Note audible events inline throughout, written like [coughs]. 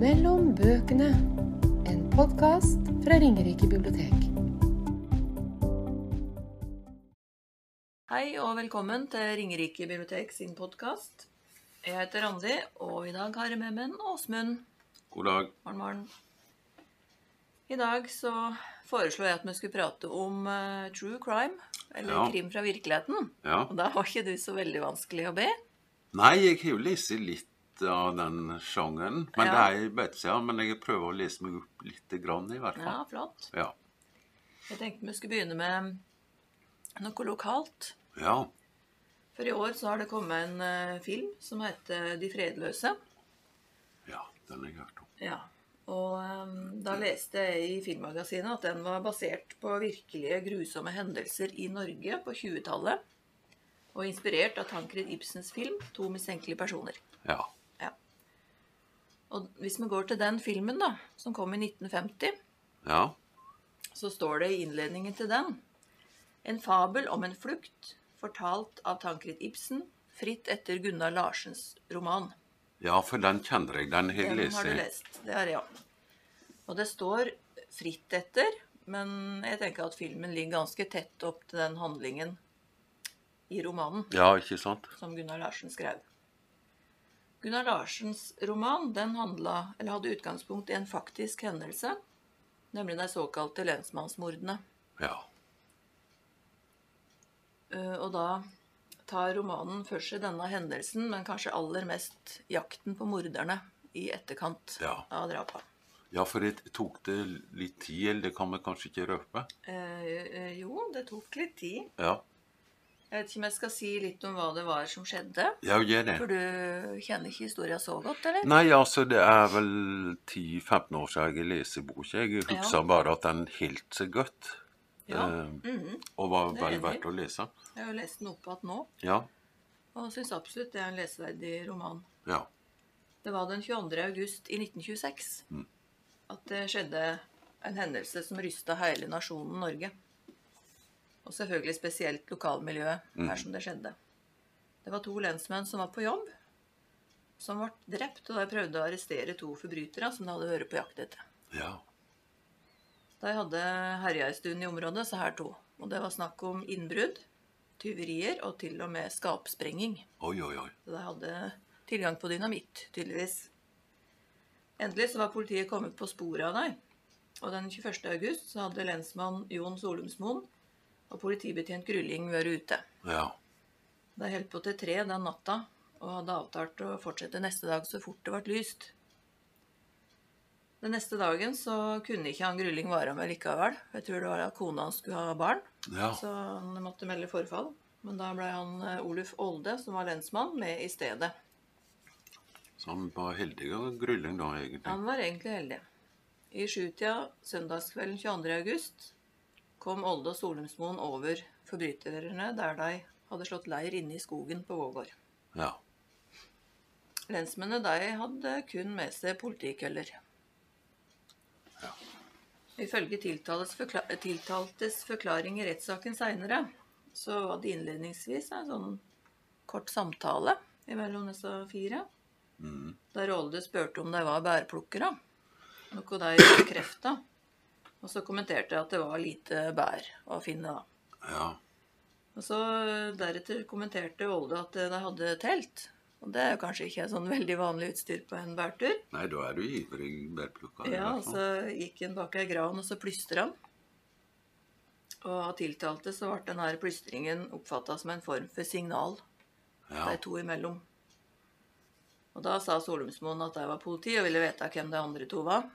Mellom bøkene. En podkast fra Ringerike bibliotek. Hei og velkommen til Ringerike bibliotek sin podkast. Jeg heter Randi, og i dag har jeg med meg en Åsmund. God dag. Morgen, morgen. I dag så foreslo jeg at vi skulle prate om eh, true crime, eller Ja. krim fra virkeligheten. Ja. Og da var ikke du så veldig vanskelig å be. Nei, jeg har jo lest litt av den sjangeren. Men Ja. det er jeg vet ikke, ja, men jeg prøver å lese meg opp litt grann, i hvert Ja, fall. flott. Ja. Jeg tenkte vi skulle begynne med noe lokalt. Ja. For i år så har det kommet en eh, film som heter De fredløse. ja. Den har jeg hørt om. Ja, og ehm, da leste jeg i Filmmagasinet at den var basert på virkelige grusomme hendelser i Norge på 20-tallet. Og inspirert av Tankred Ibsens film 'To mistenkelige personer'. Ja. Ja. Og hvis vi går til den filmen, da, som kom i 1950, Ja. så står det i innledningen til den En fabel om en flukt fortalt av Tankred Ibsen fritt etter Gunnar Larsens roman. Ja, for den kjenner jeg. Den har jeg Den lest. har du lest. Det har jeg òg. Og det står fritt etter, men jeg tenker at filmen ligger ganske tett opp til den handlingen i romanen Ja, ikke sant? som Gunnar Larsen skrev. Gunnar Larsens roman den handla, eller hadde utgangspunkt i en faktisk hendelse, nemlig de såkalte lensmannsmordene. Ja. Eh, Og da tar romanen for seg denne hendelsen, men kanskje aller mest jakten på morderne i etterkant Ja. av drapet. Ja, for det tok det litt tid, eller det kan vi kanskje ikke røpe. Eh, eh, jo, det tok litt tid. Ja. Jeg vet ikke om jeg skal si litt om hva det var som skjedde. Ja, gjør det. For du kjenner ikke historia så godt, eller? Nei, altså, det er vel 10-15 år siden jeg leser boka. Jeg husker bare at den holdt seg godt. Ja. Eh, Mhm. og var Det er vel enig. verdt å lese. Jeg har jo lest den opp igjen nå, Ja. og syns absolutt det er en leseverdig roman. Ja. Det var den 22. august i 1926 at det skjedde en hendelse som rysta hele nasjonen Norge. Og selvfølgelig spesielt lokalmiljøet her som det skjedde. Det var to lensmenn som var på jobb, som ble drept, og de prøvde å arrestere to forbrytere som de hadde vært på jakt etter. Ja. De hadde herja en stund i området, så her to. Og det var snakk om innbrudd, tyverier og til og med skapsprenging. Oi, oi, oi. Så de hadde tilgang på dynamitt, tydeligvis. Endelig så var politiet kommet på sporet av dem. Og den 21. august så hadde lensmann Jon Solumsmoen og politibetjent Grylling vært ute. Ja. De holdt på til tre den natta og hadde avtalt å fortsette neste dag så fort det ble lyst. Den neste dagen så kunne ikke han Grylling være med likevel. Jeg tror det var at kona hans skulle ha barn, Ja. så han måtte melde forfall. Men da ble han eh, Oluf Olde, som var lensmann, med i stedet. Så han var heldig og grylling da, egentlig. Han var egentlig heldig. I sjutida søndagskvelden 22. august kom Olde og Solumsmoen over forbryterne der de hadde slått leir inne i skogen på Vågård. Ja. Lensmennene de hadde kun med seg politikøller. Ifølge tiltales forkla tiltaltes forklaring i rettssaken seinere, så var det innledningsvis en sånn kort samtale mellom disse fire, der Olde spurte om de var bærplukkere, noe de bekrefta. Og så kommenterte jeg at det var lite bær å finne, da. Ja. Og så eh, deretter kommenterte Olde at eh, de hadde telt. Og det er jo kanskje ikke sånn [laughs] veldig vanlig utstyr på en bærtur. Nei, da er du ivrig bærplukker. i Ja, altså, hvert og så gikk han bak ei gran, og så plystra han. Og av tiltalte så ble denne plystringen oppfatta som en form for signal fall. ja. de to imellom. Og da sa Solumsmoen at de var politi og ville vite hvem de andre to var.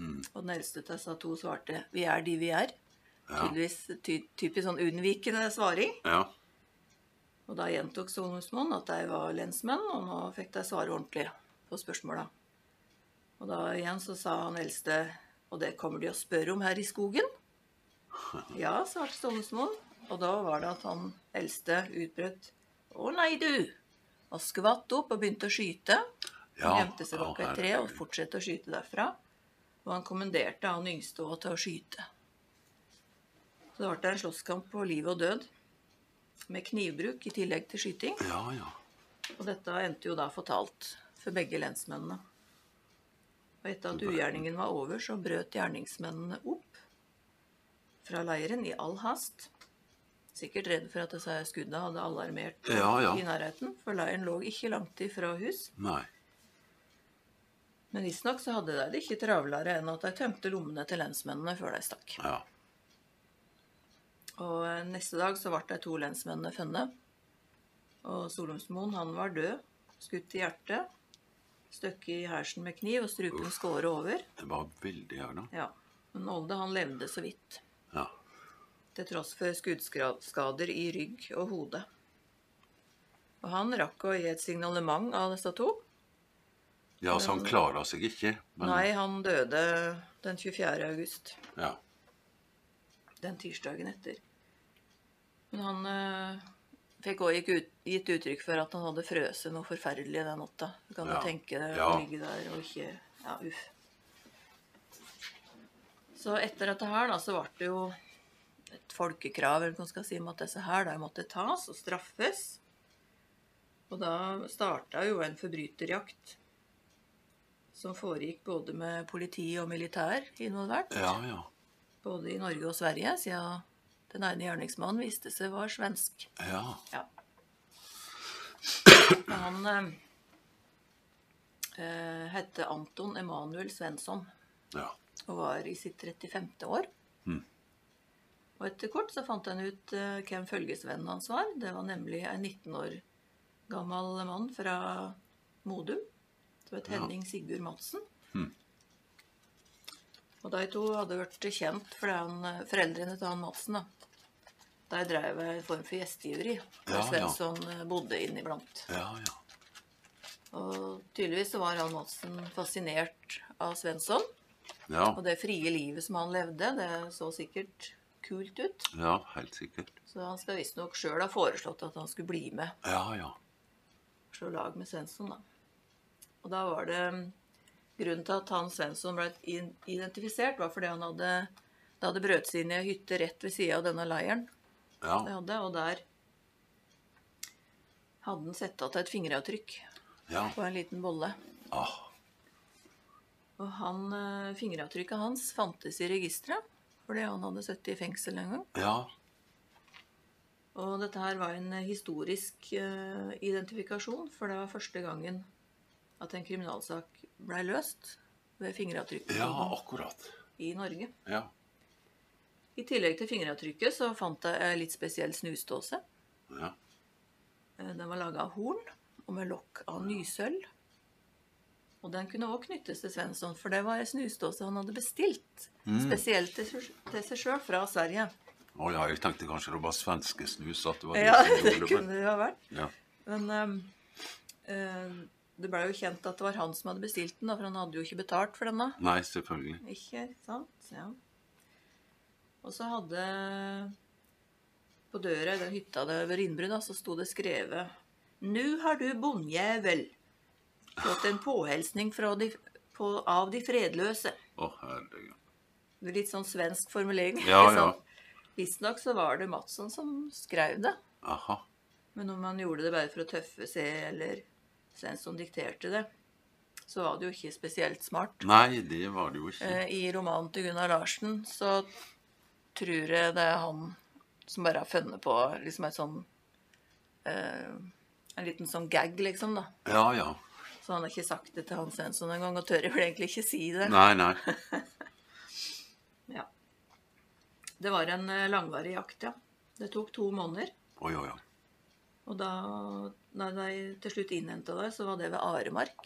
Mm. Og den eldste av disse to svarte 'Vi er de vi er'. Tydeligvis ty typisk sånn unnvikende svaring. ja. Og da gjentok Solumsmoen at de var lensmenn, og nå fikk de svare ordentlig på spørsmåla. Og da igjen så sa han eldste, og det kommer de å spørre om her i [laughs] skogen? Ja, svarte Solumsmoen, og da var det at han eldste utbrøt Å nei, du! Og skvatt opp og begynte å skyte. Han Ja, gjemte seg bak ja, et tre og herregud. fortsatte å skyte derfra. Og han kommanderte han yngste også til å skyte. Så det ble en slåsskamp på liv og død, med knivbruk i tillegg til skyting. Ja, ja. Og dette endte jo da fatalt for begge lensmennene. Og etter at ugjerningen var over, så brøt gjerningsmennene opp fra leiren i all hast. Sikkert redd for at disse skuddene hadde alarmert Ja, ja. i nærheten, for leiren lå ikke langt ifra hus. Nei. Men visstnok så hadde de det ikke travlere enn at de tømte lommene til lensmennene før de stakk. Ja. Og eh, neste dag så ble de to lensmennene funnet. Og Solumsmoen, han var død, skutt i hjertet, støkket i hersen med kniv og strupen skåret over. Det var veldig gjerne. Ja, Men Olde, han levde så vidt. Ja. Til tross for skuddskader i rygg og hode. Og han rakk å gi et signalement av disse to. ja, så han klara seg ikke. Men, Nei, han døde den 24. august. Ja. den tirsdagen etter. Men han eh, fikk òg gitt uttrykk for at han hadde frøset noe forferdelig den natta. Du kan jo Ja. tenke deg å Ja. ligge der og ikke Ja, uff. Så etter dette her, da, så ble det jo et folkekrav eller hva man skal si, om at disse her da måtte tas og straffes. Og da starta jo en forbryterjakt som foregikk både med politi og militær involvert ja, ja. både i Norge og Sverige, siden den ene gjerningsmannen viste seg var svensk. Ja. Ja. Han eh, eh, hette Anton Emanuel Svensson ja. og var i sitt 35. år. Mm. Og etter kort så fant han ut eh, hvem følgesvennen hans var. Det var nemlig en 19 år gammel mann fra Modum som het Ja. Henning Sigurd Madsen. Mm. Og de to hadde vært kjent fordi han, eh, foreldrene til han Madsen. da. De drev en form for gjestgiveri, der Ja, ja. Svensson eh, bodde inniblant. Ja, ja. Og tydeligvis så var han Madsen fascinert av Svensson. Ja, Og det frie livet som han levde, det så sikkert kult ut. ja helt sikkert. Så han skal visstnok sjøl ha foreslått at han skulle bli med, Ja, ja. slå lag med Svensson, da. Og da var det mm, Grunnen til at han Svensson ble in- identifisert, var fordi han hadde det hadde brøt seg inn i ei hytte rett ved sida av denne leiren. Det Ja, hadde, og der hadde han sett igjen et fingeravtrykk ja. på en liten bolle. Ah, Og han, eh, fingeravtrykket hans fantes i registeret fordi han hadde sittet i fengsel en gang. ja. Og dette her var en historisk eh, identifikasjon, for det var første gangen at en kriminalsak ble løst ved fingeravtrykket Ja, akkurat. i Norge. Ja. I tillegg til fingeravtrykket så fant jeg en litt spesiell snusdåse. Ja. Eh, Den var laga av horn og med lokk av nysølv. Og den kunne også knyttes til Svensson, for det var en snusdåse han hadde bestilt. Spesielt til seg- til seg sjøl fra Sverige. Å ja, jeg tenkte kanskje det var svenske snus at det var Ja, de som det gjorde det. kunne det jo ha vært. Ja. Men ehm, eh, det blei jo kjent at det var han som hadde bestilt den, da, for han hadde jo ikke betalt for denne. Nei, selvfølgelig. Ikke sant? Ja. Og så hadde På døra i den hytta det ved innbrudd, da, så sto det skrevet Nu har du bondjævel fått en påhelsning fra de, på, av de fredløse. Å, herregud. Det er Litt sånn svensk formulering. Ja, ja. Visstnok så var det Madsson som skrev det. Aha. Men om han gjorde det bare for å tøffe seg, eller Svensson dikterte det, så var det jo ikke spesielt smart. Nei, det var det jo ikke. Eh, I romanen til Gunnar Larsen så tror jeg det er han som bare har funnet på liksom et sånn eh, En liten sånn gag, liksom, da. Ja, ja. Så han har ikke sagt det til han Svensson engang, og tør vel egentlig ikke si det. Nei, nei. Ja. Det var en eh, langvarig jakt, ja. Det tok to måneder. Oi, oi, oi. Og da når de til slutt innhenta det, så var det ved Aremark.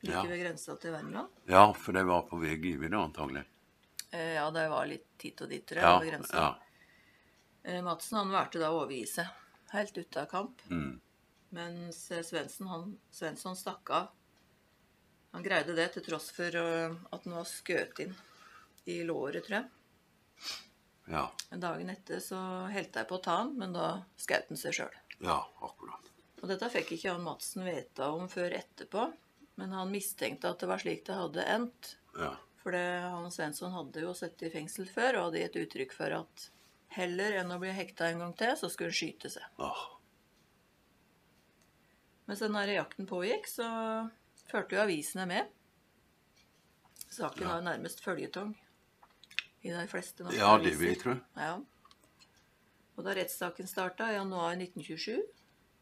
Like Ja. ved grensa til Värmland. Ja, for de var på vei i da, antagelig. Eh, ja, det var litt hit og dit, tror jeg. Ja, ved grensa. ja. Eh, Madsen han valgte da å overgi seg, helt ute av kamp. Mm. Mens eh, Svendsen, han, Svensson stakk av. Han greide det til tross for eh, at han var skutt inn i låret, tror jeg. Ja, Men Dagen etter så holdt jeg på å ta han, men da skjøt han seg sjøl. ja, akkurat. Og dette fikk ikke han Madsen vite om før etterpå, men han mistenkte at det var slik det hadde endt. Ja, For det, han Svensson hadde jo sittet i fengsel før og hadde gitt uttrykk for at heller enn å bli hekta en gang til, så skulle han skyte seg. ah, Mens den her jakten pågikk, så førte jo avisene med. Saken har jo nærmest føljetong i de fleste norske Ja, det vil aviser. jeg tro. Ja. Og da rettssaken starta i januar 1927,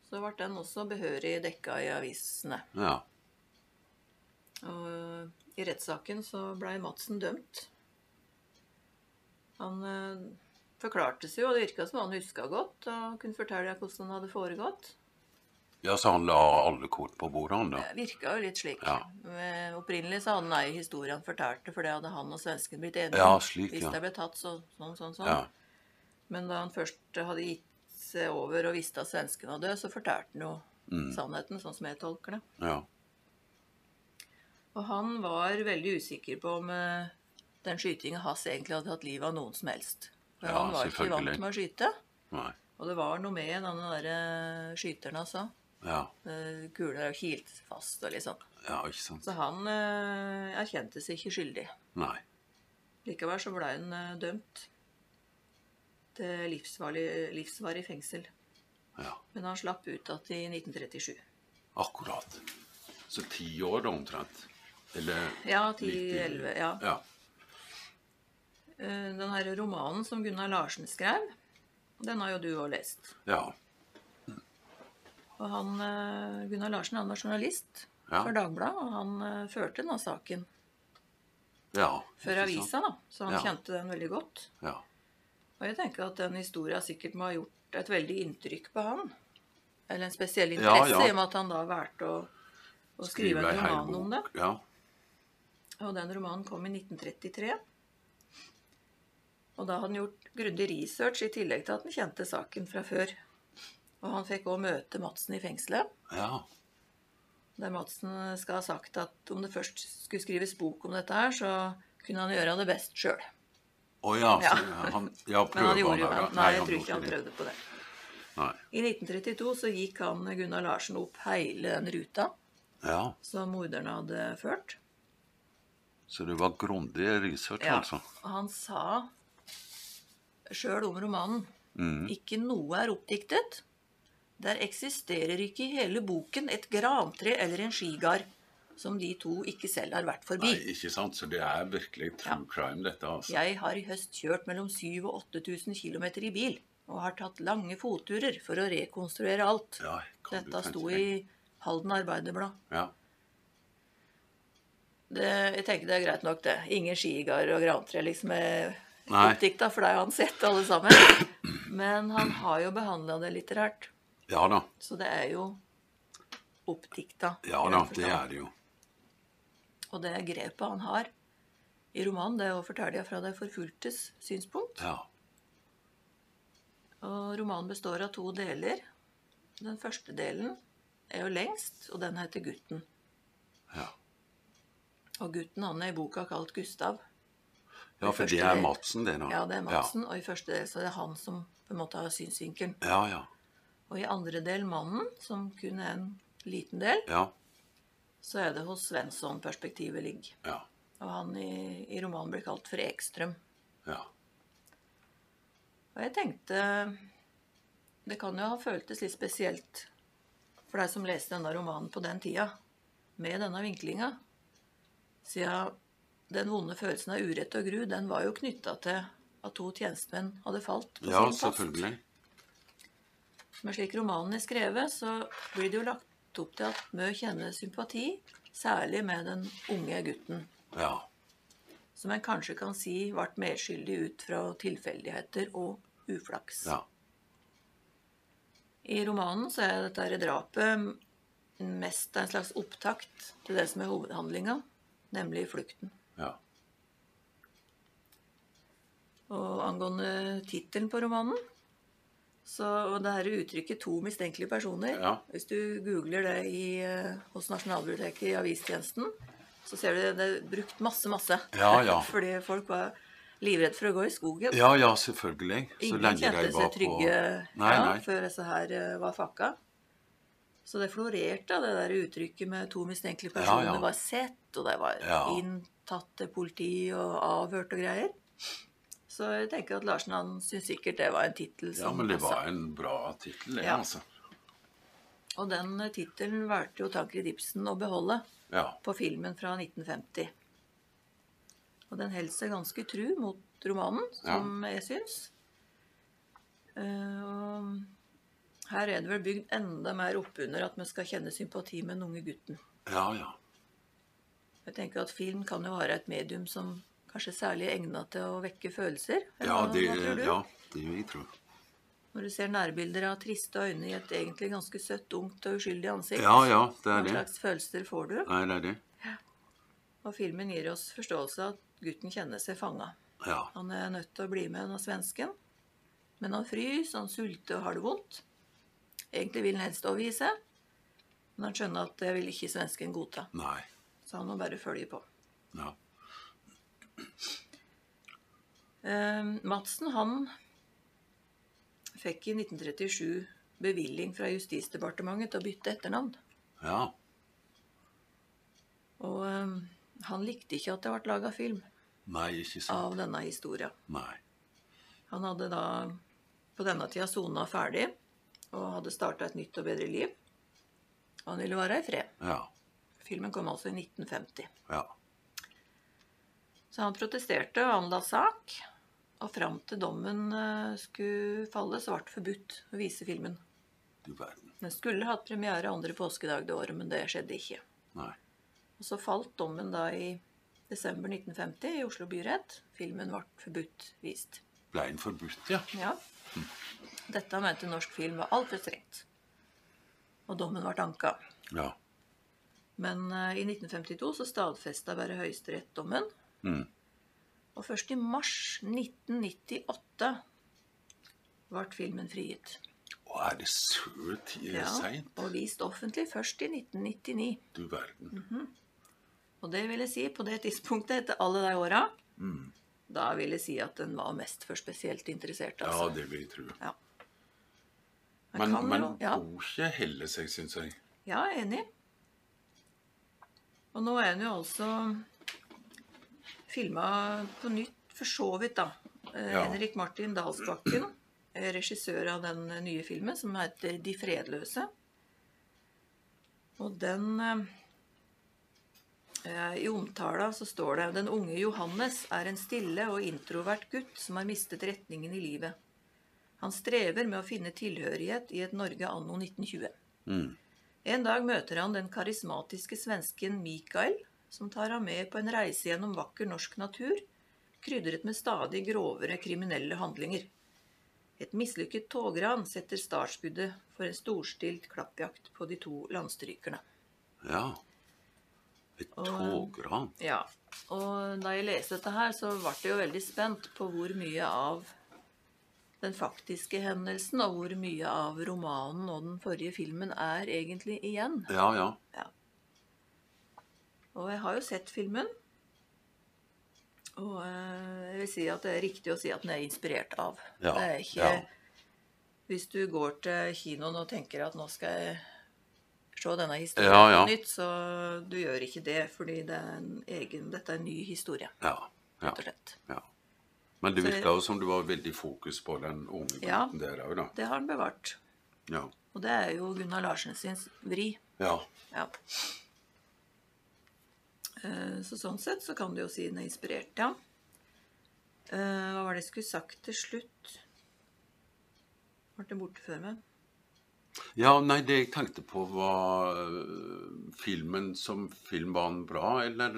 så ble den også behørig dekka i avisene. Ja. Og i rettssaken så blei Madsen dømt. Han eh, forklarte seg jo, og det virka som han huska godt og kunne fortelle hvordan det hadde foregått. ja, så han la alle kort på bordet, han da? Det virka jo litt slik. Ja. Men Opprinnelig så hadde han ei historie han fortalte, for det hadde han og svensken blitt enige Ja, om. slik, Hvis ja. de ble tatt, så sånn, sånn, sånn. Ja. Men da han først hadde gitt seg over og visste at svensken var død, så fortalte han jo Mm. sannheten, sånn som jeg tolker det. ja. Og han var veldig usikker på om eh, den skytinga hans egentlig hadde tatt livet av noen som helst. For Ja, han var ikke vant selvfølgelig. med å skyte. Nei. Og det var noe med denne derre skyteren, altså. Ja. Eh, Kula kilte fast og litt sånn. ja, ikke sant. Så han eh, erkjente seg ikke skyldig. Nei. Likevel så ble han eh, dømt til livsvarig, livsvarig fengsel. Ja. Men han slapp ut igjen i 1937. Akkurat. Så ti år da omtrent? Eller Ja, 10, litt i- 11, ja. Ja. Eh, Den her romanen som Gunnar Larsen skrev, den har jo du òg lest. ja. Og han, eh, Gunnar Larsen han var journalist Ja. for Dagbladet, og han eh, førte denne saken ja. for ikke sant? avisa, da, så han Ja. kjente den veldig godt. Ja. Og jeg tenker at den historien sikkert må ha gjort et veldig inntrykk på han. Eller en spesiell Ja, interesse, ja. i og med at han da valgte å, å skrive ei en hel roman om det. bok, Ja. Og den romanen kom i 1933. Og da hadde han gjort grundig research i tillegg til at han kjente saken fra før. Og han fikk òg møte Madsen i fengselet, ja. der Madsen skal ha sagt at om det først skulle skrives bok om dette her, så kunne han gjøre det best sjøl. Å ja, så, Ja. han, ja, [laughs] Men han prøver gjorde jo da, ja. Nei, jeg tror gjorde ikke han det. prøvde på det. Nei. I 1932 så gikk han Gunnar Larsen opp hele den ruta Ja, som morderne hadde ført. så det var grundig research, Ja, altså. og han sa sjøl om romanen Mm. Ikke noe er oppdiktet. Der eksisterer ikke i hele boken et grantre eller en skigard som de to ikke selv har vært forbi. Nei, ikke sant? Så det er virkelig true crime, dette, altså. Jeg har i høst kjørt mellom 7000 og 8000 km i bil, og har tatt lange fotturer for å rekonstruere alt. Ja, kan du Dette tenke sto deg. i Halden Arbeiderblad. Ja. Det, jeg tenker det er greit nok, det. Ingen skigard og grantre liksom er Nei. oppdikta, for det har jo han sett, alle sammen. Men han har jo behandla det litterært. ja da. Så det er jo oppdikta. Ja i da, den det forstand. er det jo. Og det grepet han har i romanen, det er å fortelle fra de forfulgtes synspunkt. Ja. Og romanen består av to deler. Den første delen er jo lengst, og den heter 'Gutten'. Ja. Og gutten han er i boka kalt Gustav. ja, for det er Madsen, det nå. Ja, det er Madsen. Og i første del så er det han som på en måte har synsvinkelen. Ja, ja. Og i andre del mannen, som kun er en liten del, Ja, så er det hos Svensson-perspektivet ligger. ja. Og han i, i romanen blir kalt for Ekstrøm. ja. Og jeg tenkte Det kan jo ha føltes litt spesielt for deg som leste denne romanen på den tida, med denne vinklinga. Siden den vonde følelsen av urett og gru, den var jo knytta til at to tjenestemenn hadde falt på ja sin post. selvfølgelig. Men slik romanen er skrevet, så blir det jo lagt opp til at Mø kjenner sympati, særlig med den unge gutten, Ja. som en kanskje kan si ble medskyldig ut fra tilfeldigheter og uflaks. Ja. I romanen så er dette her drapet mest en slags opptakt til det som er hovedhandlinga, nemlig flukten. Ja. Og angående tittelen på romanen så og det her uttrykket 'to mistenkelige personer' Ja. Hvis du googler det i, eh, hos Nasjonalbiblioteket i avistjenesten, så ser du det, det er brukt masse, masse. Ja, ja. [laughs] Fordi folk var livredde for å gå i skogen. Ja, ja, selvfølgelig. Så Ingen lenge kjente de var seg på trygge Nei, ja, nei. før disse her eh, var fakka. Så det florerte, det der uttrykket med to mistenkelige Ja, personer ja. var sett, og de var Ja. inntatt til politi og avhørt og greier. Så jeg tenker at Larsen han syntes sikkert det var en tittel Ja, som men det passet. var en bra tittel, det, Ja. altså. Og den eh, tittelen valgte jo Tankred Ibsen å beholde Ja. på filmen fra 1950. Og den holder seg ganske tru mot romanen, som jeg syns. Eh, og her er det vel bygd enda mer oppunder at vi skal kjenne sympati med den unge gutten. Ja, ja. Jeg tenker at Film kan jo være et medium som kanskje er særlig er egnet til å vekke følelser. eller Ja, hva- det, hva tror du? ja, det vil jeg tro. Når du ser nærbilder av triste øyne i et egentlig ganske søtt, ungt og uskyldig ansikt, Ja, ja, det hva er det. slags følelser får du? Nei, det er det. Og filmen gir oss forståelse av at gutten kjenner seg fanga. Ja. Han er nødt til å bli med den svensken. Men han fryser, han sulter og har det vondt. Egentlig vil han helst overgi seg, men han skjønner at det vil ikke svensken godta. Nei. Så han må bare følge på. Ja. Eh, Madsen han fikk i 1937 bevilling fra Justisdepartementet til å bytte etternavn. Ja. Og eh, han likte ikke at det ble laga film Nei, ikke sant. av denne historia. Nei. Han hadde da på denne tida sona ferdig og hadde starta et nytt og bedre liv. Og han ville være i fred. Ja. Filmen kom altså i 1950. Ja. Så han protesterte og anla sak. Og fram til dommen eh, skulle falle, så ble det forbudt å vise filmen. Du verden. Den skulle hatt premiere andre påskedag det året, men det skjedde ikke. Nei. Og så falt dommen da i desember 1950 i Oslo byrett. Filmen ble forbudt vist. Ble den forbudt, ja? Ja. Dette mente norsk film var altfor strengt. Og dommen ble anka. Ja. Men eh, i 1952 så stadfesta bare Høyesterett dommen. Mm. Og først i mars 1998 ble filmen frigitt. Å, er det så ti- seint? og vist offentlig først i 1999. Du Mm. verden. Og det vil jeg si, på det tidspunktet etter alle de åra, Mm. da vil jeg si at den var mest for spesielt interesserte. Ja, Altså. det vil jeg tro. Den Men, kan men jo- ja. boka heller seg, syns jeg. Ja, jeg er enig. Og nå er den jo altså filma på nytt, for så vidt, da. Eh, Ja. Henrik Martin Dalsbakken, eh, regissør av den eh, nye filmen som heter 'De fredløse'. Og den eh, I omtala så står det 'Den unge Johannes er en stille og introvert gutt som har mistet retningen i livet'. Han strever med å finne tilhørighet i et Norge anno 1920. Mm. En dag møter han den karismatiske svensken Mikael, som tar ham med på en reise gjennom vakker norsk natur, krydret med stadig grovere kriminelle handlinger. Et mislykket togran setter startskuddet for en storstilt klappjakt på de to landstrykerne. Ja. Et togran. Ja, og da jeg leste dette her, så ble jeg jo veldig spent på hvor mye av den faktiske hendelsen, og hvor mye av romanen og den forrige filmen er egentlig igjen. Ja, ja. Ja. Og jeg har jo sett filmen. Og eh, jeg vil si at det er riktig å si at den er inspirert av. Ja, det er ikke ja. Hvis du går til kinoen og tenker at nå skal jeg se denne historien Ja, ja. på nytt, så du gjør ikke det, fordi det er en egen, dette er en ny historie, ja. ja. rett og slett. ja. Men det Så- virka jo som det var veldig fokus på den unge Ja. gutten der òg, da. Det har den bevart. Ja. Og det er jo Gunnar Larsen sin vri. ja. Ja. Eh, Så sånn sett så kan du jo si den er inspirert, ja. Eh, Hva var det jeg skulle sagt til slutt? Ble det borte før meg? Ja, nei, det jeg tenkte på var øh, filmen som film var den bra, eller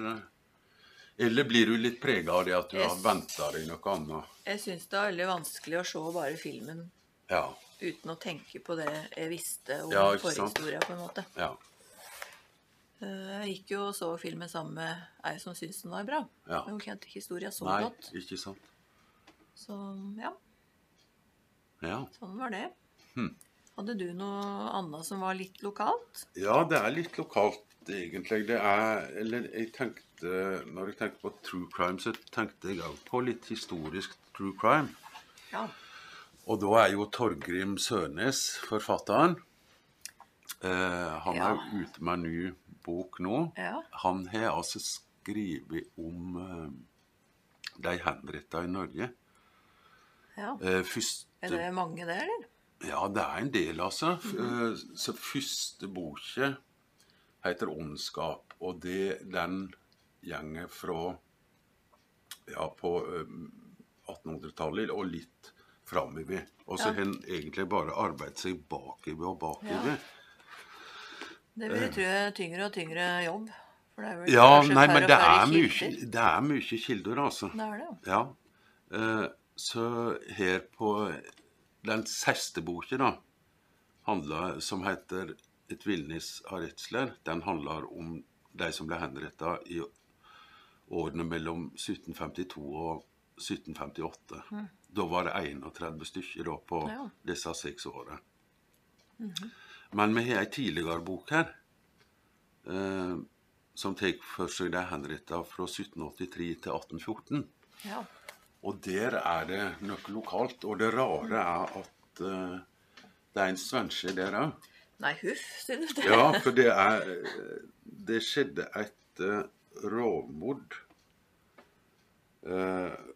Eller blir du litt prega av det at du Jeg har s- venta deg noe annet? Jeg syns det er veldig vanskelig å se bare filmen Ja. uten å tenke på det jeg visste om Ja, ikke sant. forhistoria, på en måte. Ja. Eh, Jeg gikk jo og så filmen sammen med ei som syntes den var bra. Ja. Men hun kjente ikke historia så Nei, godt. ikke sant. Så ja, Ja. sånn var det. Hm. Hadde du noe annet som var litt lokalt? ja, det er litt lokalt, egentlig. Det er Eller jeg tenkte Når jeg tenkte på true crime, så tenkte jeg òg på litt historisk true crime. Ja. Og da er jo Torgrim Sørnes forfatteren. Eh, han er jo ute med en ny bok nå. Ja. Han har altså skrevet om eh, de henretta i Norge. ja. Eh, Er første, det mange det, eller? ja, det er en del, altså. F- eh, så første boka heter 'Ondskap', og det, den gjenger fra ja, på eh, 1800-tallet og litt framover. Og så Ja. hen egentlig bare arbeidet seg bakover og bakover. Ja. Det blir tror jeg, tyngre og tyngre jobb. For det er vel Eh. Ja, kanskje nei, færre men og det færre er, mye, kilder. det er mye kilder, altså. Det er det. jo. Ja. Eh, så her på den siste boka, da, handler, som heter 'Et villnis av redsler', den handler om de som ble henretta i årene mellom 1752 og 1758. Da var det 31 stykker da, på Ja. disse seks åra. Men vi har ei tidligere bok her eh, som tar for seg de henretta fra 1783 til 1814. Ja. Og der er det noe lokalt. Og det rare er at eh, det er en svenske der òg. Nei, huff, sier du det? Ja, for det er eh, Det skjedde et uh, rovmord eh,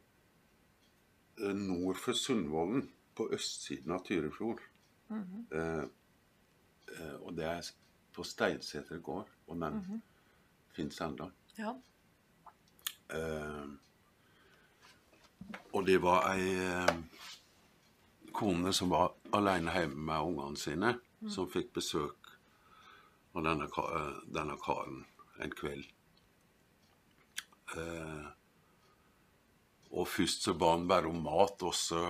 nord for Sundvolden, på østsiden av Tyrifjord. Eh, eh, og det er på Steinseter gård, og den finnes ennå. [laughs] Ja. Eh, og det var ei eh, kone som var alene hjemme med ungene sine, som fikk besøk av denne, ka- eh, denne karen en kveld. Eh, og først så ba han bare om mat, og så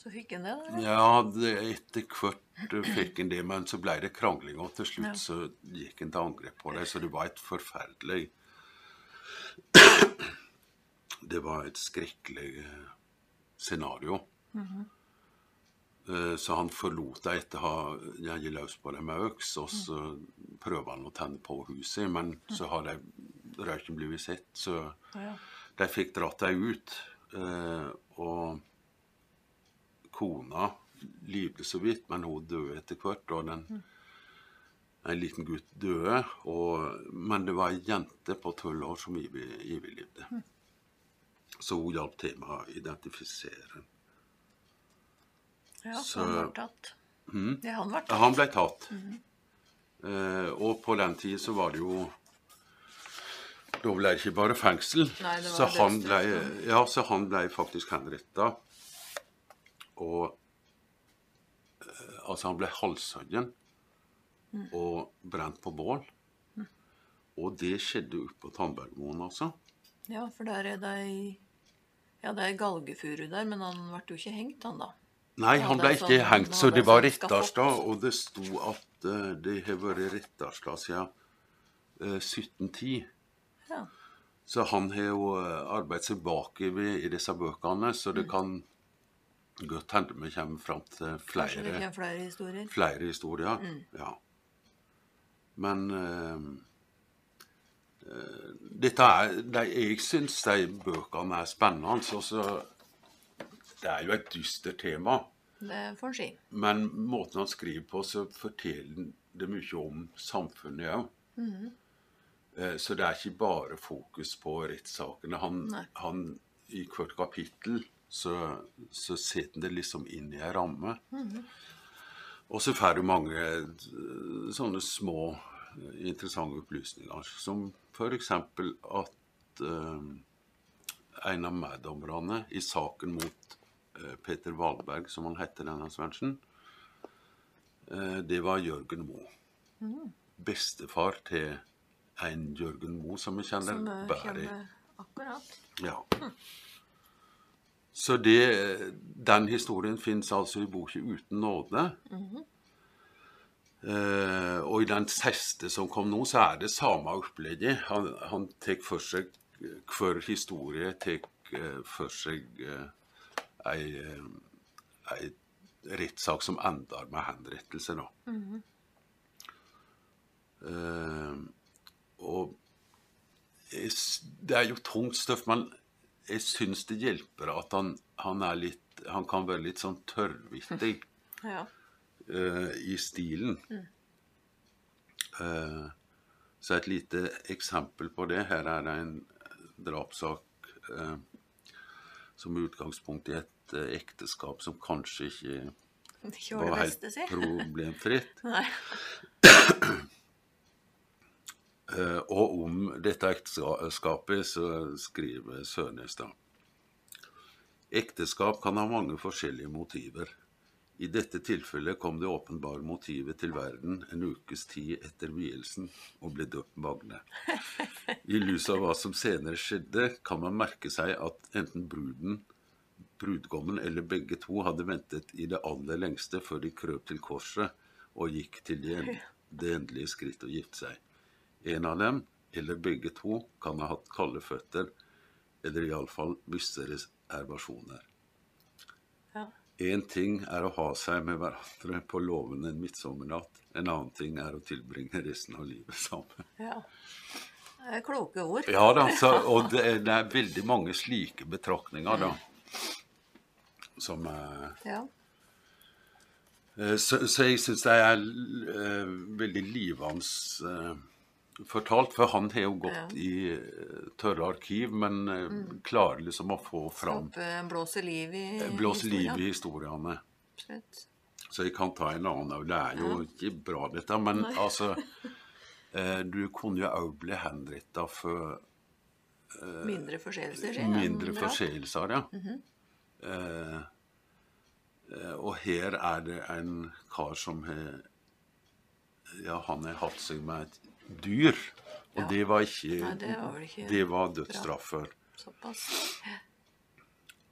Så fikk han det, da. Ja, det, etter hvert eh, fikk han det, men så ble det krangling, og til Ja. slutt så gikk han til angrep på det, så det var et forferdelig Det var et skrekkelig eh, scenario. Eh, Så han forlot det etter å ha jaget løs på det med øks, og så prøver han å tenne på huset, men så har de røyken blitt sett, så Ja. de fikk dratt deg ut, eh, og kona levde så vidt, men hun døde etter hvert. Og den, en liten gutt døde. Og, men det var ei jente på tolv år som overlevde. Så hun hjalp til med å identifisere. Ja, Så- Mm. så han var tatt. Ja, han var Ja, tatt. Han ble tatt. Eh, og på den tid så var det jo Da ble det ikke bare fengsel. Nei, det så, var han ble, dødsstraff, ja, så han ble faktisk henretta. Og eh, Altså, han ble halshoggen Mm. og brent på bål. Og det skjedde oppe på Tandbergmoen, altså. Ja, for der er det ei Ja, det er ei galgefuru der, men han ble jo ikke hengt, han, da. Nei, Ja, han det ble er ikke sånn- hengt, nå så er det det var sånn Rettarstad. skafott. Og det sto at eh, det har vært Rettarstad siden eh, 1710. Ja. Så han har jo eh, arbeidet seg bakover i disse bøkene, så det kan godt hende vi kommer fram til Mm. Kanskje Mm. det flere, kommer flere historier. flere historier. Ja. Men eh, eh, dette er, de, jeg syns de bøkene er spennende. og så- det er jo et dystert tema, Det får en si. men måten han skriver på, så forteller det mye om samfunnet òg. Eh, Så det er ikke bare fokus på rettssakene. Han, Nei. han I hvert kapittel så, så setter han det liksom inn i ei ramme. Og så får du mange eh, sånne små eh, interessante opplysninger, som f.eks. at eh, en av meddommerne i saken mot eh, Peter Valberg, som han heter, denne Svendsen, eh, det var Jørgen Moe Mm. bestefar til en Jørgen Moe som vi kjenner Som eh, bare. kommer akkurat. Ja. Så det, den historien fins altså i boka Uten nåde. Eh, og i den siste som kom nå, så er det samme opplegget. Han, han tar for seg hver historie tar eh, for seg eh, ei, eh, ei rettssak som ender med henrettelse, da. eh, og jeg s- det er jo tungt stoff, men jeg syns det hjelper at han, han er litt Han kan være litt sånn tørrvittig Ja. [laughs] eh, i stilen. Eh, så et lite eksempel på det. Her er det en drapssak eh, som er utgangspunkt i et eh, ekteskap som kanskje ikke Ikke var var det helt beste, si. problemfritt. Nei. [clears throat] Eh, Og om dette ekteskapet så skriver Sørnestad. Ekteskap kan ha mange forskjellige motiver. I dette tilfellet kom det åpenbare motivet til verden en ukes tid etter vielsen og ble døpt Magne. I lys av hva som senere skjedde, kan man merke seg at enten bruden, brudgommen eller begge to hadde ventet i det aller lengste før de krøp til korset og gikk til de en- det endelige skritt å gifte seg. En av dem, eller begge to, kan ha hatt kalde føtter, eller iallfall visse reservasjoner. Ja. Én ting er å ha seg med hverandre på låven en midtsommernatt, en annen ting er å tilbringe resten av livet sammen. ja. Det er kloke ord. Ja da, så, og det er, det er veldig mange slike betraktninger, da. Som eh, Ja. Eh, Så, så jeg syns det er l- eh, veldig livans eh, fortalt, for han har jo gått Ja. Mm. i eh, tørre arkiv, men eh, klarer liksom å få fram Opp, eh, blåser liv i Blåse Eh, liv historien, i historiene. absolutt. Så jeg kan ta en annen òg. Det er jo ikke bra, dette, men altså eh, Du kunne jo òg bli henretta for Mindre forseelser, sier jeg. mindre forseelser, ja. Mhm. eh, eh, og her er det en kar som har Ja, han har hatt seg med et dyr. Og Ja. det var ikke Nei, det var vel ikke det var dødsstraffer. Såpass.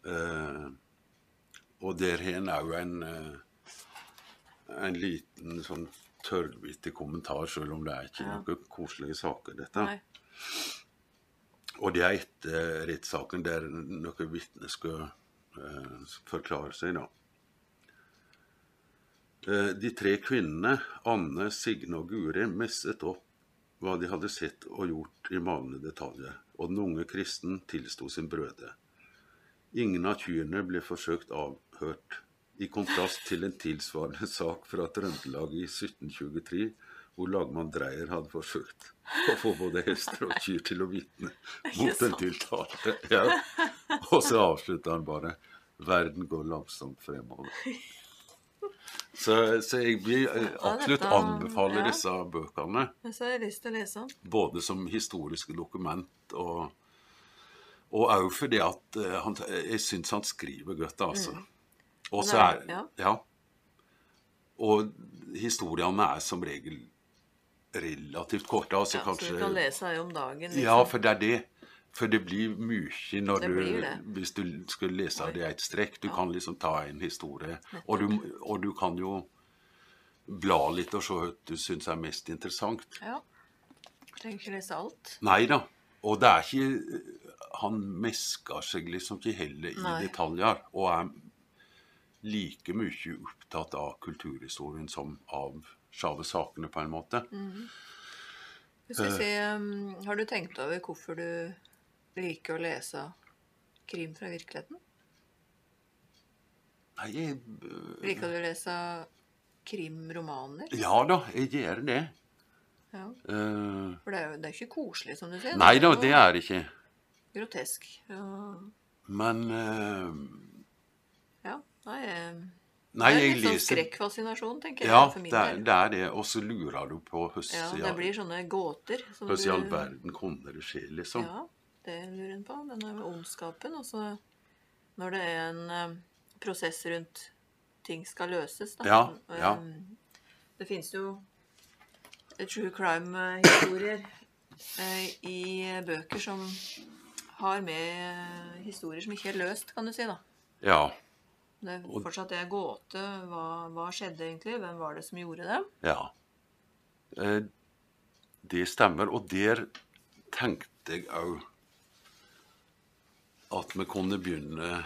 Eh, og der har en òg en eh, en liten sånn tørrvittig kommentar, sjøl om det er ikke noen koselige saker, dette. Nei. Og det er etter rettssaken der noen vitner skulle eh, forklare seg, da. Eh, de tre kvinnene, Anne, Signe og Guri, messet opp hva de hadde sett og gjort i malende detaljer, og den unge kristen tilsto sin brøde. Ingen av kyrne ble forsøkt avhørt, i kontrast til en tilsvarende [laughs] sak fra Trøndelag i 1723, hvor lagmann Dreyer hadde forsøkt å få både hester og kyr til å vitne mot den tiltalte. [laughs] Ja. [laughs] Og så avslutta han bare 'Verden går langsomt [laughs] fremover'. Så, så jeg vil eh, absolutt dette- anbefale ja. disse bøkene Men så har jeg lyst til å lese den. både som historiske dokument og og òg fordi at eh, han, jeg syns han skriver godt, altså. Og så Mm. Han er er- ja. Ja. Og historiene er som regel relativt korte, altså Ja, så kanskje du kan lese her om dagen. Liksom. Ja, for det er det. For det blir mye når Det du, blir det. hvis du skal lese det i ett strekk. Du kan liksom ta en historie, og du, og du kan jo bla litt og se hva du syns er mest interessant. Ja. Trenger ikke lese alt. Nei da. Og det er ikke Han mesker seg liksom ikke heller i Nei. detaljer. Og er like mye opptatt av kulturhistorien som av sjave sakene, på en måte. Mm. Jeg Eh. skal si, um, har du tenkt over hvorfor du liker å lese krim fra virkeligheten? Nei, jeg, Liker du å lese krimromaner? ja da, jeg gjør det. Ja. Eh, For det er jo det er ikke koselig, som du sier. nei da, jo det er det ikke. Grotesk. Ja. Men eh, ja. Nei, eh, Nei, det er jeg litt sånn leser skrekkfascinasjon, tenker jeg. Ja, for min det er del. det. Er det. Og så lurer du på hvordan ja, i det all- blir sånne gåter. som hvordan i all du- verden kunne det skje, liksom. Ja, det lurer en på. Denne ondskapen. Og så når det er en eh, prosess rundt ting skal løses, da. Ja, ja. Em, Det finnes jo eh, true crime-historier eh, i bøker som har med eh, historier som ikke er løst, kan du si, da. Ja. Det er Og- fortsatt det er gåte. Hva, hva skjedde egentlig? Hvem var det som gjorde det? Ja. Eh, Det stemmer. Og der tenkte jeg òg at vi kunne begynne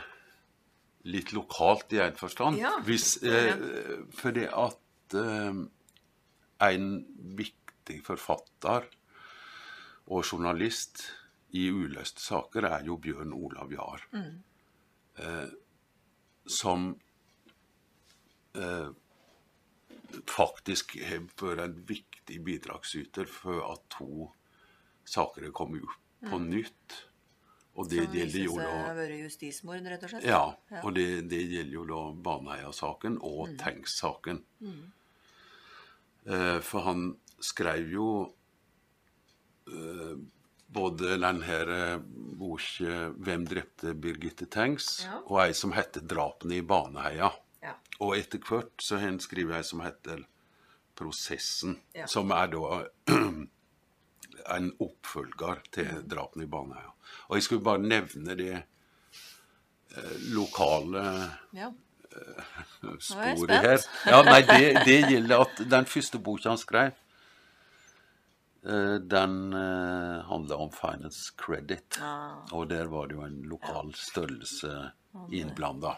litt lokalt i en forstand. Ja. Hvis, eh, fordi at eh, en viktig forfatter og journalist i uløste saker er jo Bjørn Olav Jahr. Eh, som eh, faktisk har vært en viktig bidragsyter for at to saker har kommet opp på nytt. Og det Mm. Som gjelder viser jo seg å da eh, være justismord, rett og slett? ja, og det, det gjelder jo da Baneheia-saken og Mm. Tengs-saken. Eh, for han skrev jo både den her eh, boka 'Hvem drepte Birgitte Tengs?' Ja. og ei som heter 'Drapene i Baneheia'. Ja. Og etter hvert så har en skrevet ei som heter 'Prosessen', Ja. som er da [clears throat] en oppfølger til Mm. 'Drapene i Baneheia'. Og jeg skulle bare nevne det eh, lokale Ja. er jeg sporet her. spent. Ja, nei, det, det gjelder at den første boka han skrev, eh, den uh, handla om finance credit. Ah. Og der var det jo en lokal størrelse innblanda.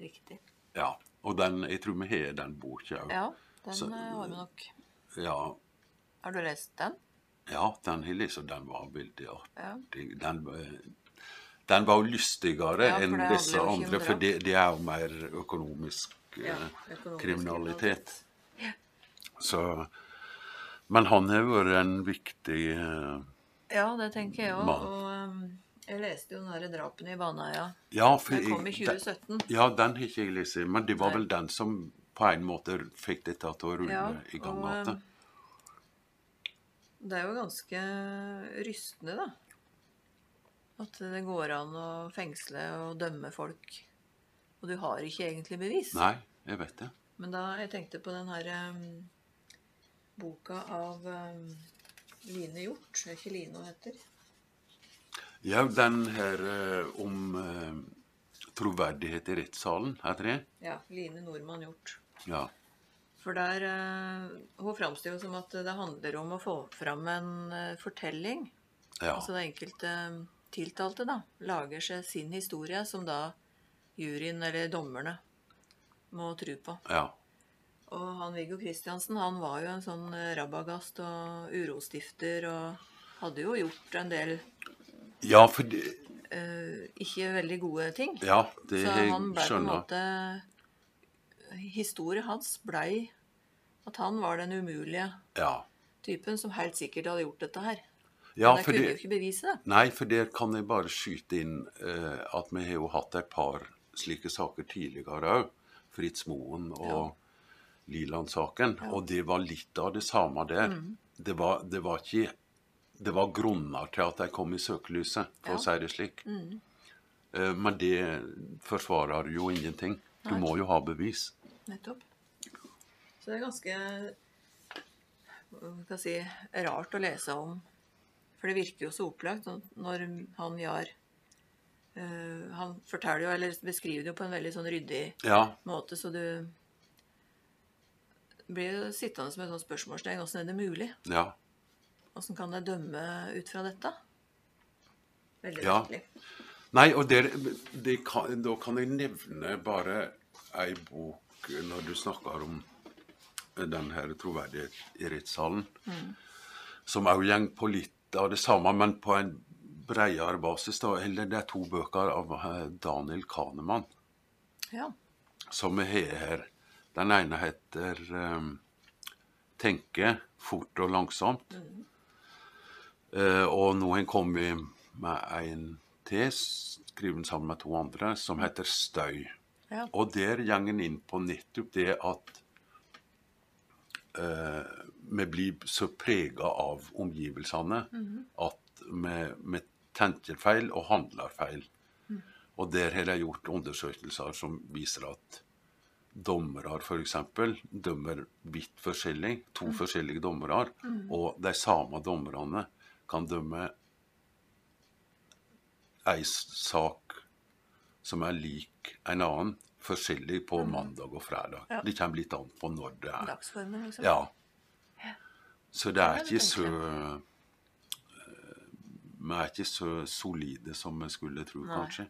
Riktig. Ja. Og den, jeg tror vi har den boka òg. Ja, den Så- eh, har vi nok. Ja, Har du lest den? ja, den har liksom Den var veldig Ja. artig. Den, eh, den var jo lystigere Ja, for enn det handler disse jo ikke om andre, for drap. det, det er jo mer økonomisk eh, Ja, økonomisk kriminalitet. Så, men han har vært en viktig eh, Ja, det tenker jeg òg. Mann. Og ehm, jeg leste jo den derre drapene i Baneheia. Ja, for Den kom i jeg- 2017. Den, ja, den har ikke jeg lest, men det var Nei. vel den som på en måte fikk dette til å rulle Ja, i gang. og, igjen. ehm, Det er jo ganske rystende, da. At det går an å fengsle og dømme folk. Og du har ikke egentlig bevis. Nei, jeg vet det. Men da jeg tenkte på den her ehm, boka av ehm, Line Hjort, er ikke Line hun heter? Ja, den her eh, om eh, troverdighet i rettssalen, heter det? Ja, Line Nordmann Hjort. Ja. For der, eh, Hun framstiller jo som at det handler om å få fram en eh, fortelling. ja. Altså den enkelte eh, tiltalte da, lager seg sin historie, som da juryen eller dommerne må tro på. ja. Og han Viggo Kristiansen han var jo en sånn eh, rabagast og urostifter og hadde jo gjort en del Ja, for det, eh, ikke veldig gode ting. ja, det Så har jeg han ble på en skjønna. måte Historien hans blei at han var den umulige Ja. typen som helt sikkert hadde gjort dette her. ja, Men jeg for kunne det, jo ikke bevise det. Nei, for der kan jeg bare skyte inn eh, at vi har jo hatt et par slike saker tidligere òg. Fritz Moen og Liland-saken. Og det var litt av det samme der. Mm. Det, var, det var ikke Det var grunner til at de kom i søkelyset, for Ja. Mm. å si det slik. Eh, men det forsvarer jo ingenting. Du må jo ha bevis. Nettopp. Så det er ganske hva skal jeg si, rart å lese om. For det virker jo så opplagt sånn når han Jahr eh, Han forteller jo, eller beskriver det jo på en veldig sånn ryddig Ja, måte, så du blir jo sittende som et sånt spørsmålstegn. Åssen er det mulig? ja. Åssen kan jeg dømme ut fra dette? Veldig Ja. merkelig. Nei, og der, det kan, da kan jeg nevne bare ei bok når du snakker om den her troverdighet i rettssalen, som òg går på litt av det samme, men på en bredere basis. da, Eller det er to bøker av eh, Daniel Kahneman Ja. som vi har her. Den ene heter eh, 'Tenke fort og langsomt'. Eh, og nå har en kommet med en til, skrevet sammen med to andre, som heter 'Støy'. ja. Og der går en inn på nettopp det at eh, vi blir så prega av omgivelsene at vi, vi tenker feil og handler feil. Og der har de gjort undersøkelser som viser at dommere f.eks. dømmer vidt forskjellig, to Mm. forskjellige dommere, og de samme dommerne kan dømme ei s- sak som er lik en annen, forskjellig på mandag og fredag. Mm. Ja. Det kommer litt an på når det er. Dagsformen, liksom. Ja. Så det er det er ikke litt så eh, Vi er ikke så solide som vi skulle tro, Nei. kanskje.